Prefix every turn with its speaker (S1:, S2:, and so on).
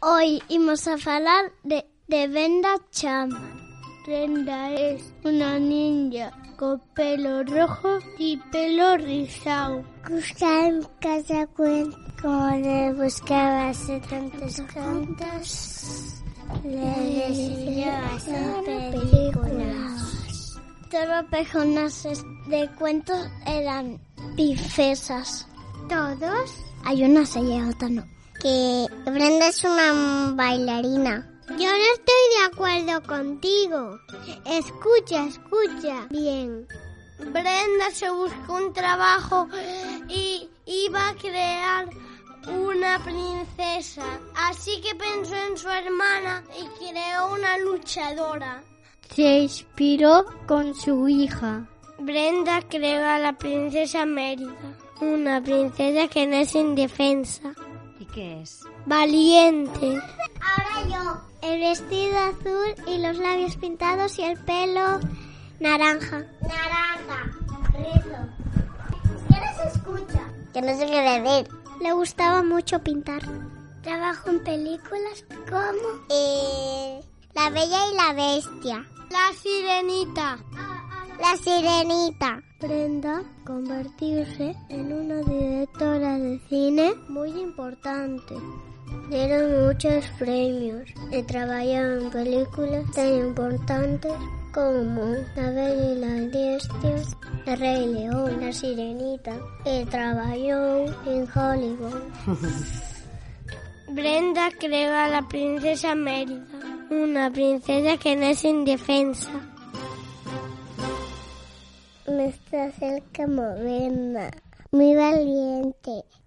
S1: Hoy imos a falar de, de Brenda Chapman. Brenda es unha niña co pelo rojo e pelo rizado.
S2: Buscaba en casa cuen- como le buscaba hace tantos cantos. Le decidió hacer películas.
S1: Todas personas de cuentos eran princesas.
S2: Todos.
S1: Hay una se y otra no.
S2: Que Brenda es una bailarina. Yo no estoy de acuerdo contigo. Escucha, escucha. Bien. Brenda se buscó un trabajo y iba a crear una princesa. Así que pensó en su hermana y creó una luchadora.
S1: Se inspiró con su hija.
S2: Brenda creó a la princesa Mérida, una princesa que no es indefensa.
S3: ¿Y qué es?
S2: Valiente. Ahora yo. El vestido azul y los labios pintados y el pelo naranja. Naranja. Rizo. que no se escucha. Yo no sé qué decir. Le gustaba mucho pintar. Trabajo en películas como... Eh, la Bella y la Bestia. La Sirenita. La Sirenita.
S1: Brenda convertirse en una directora de cine muy importante. Dieron muchos premios y trabajaron en películas tan importantes como La Bella y la Bestia, El Rey León, La Sirenita y trabajó en Hollywood.
S2: Brenda creó a la princesa Mérida, una princesa que no es indefensa.
S1: Me está cerca moderna, muy valiente,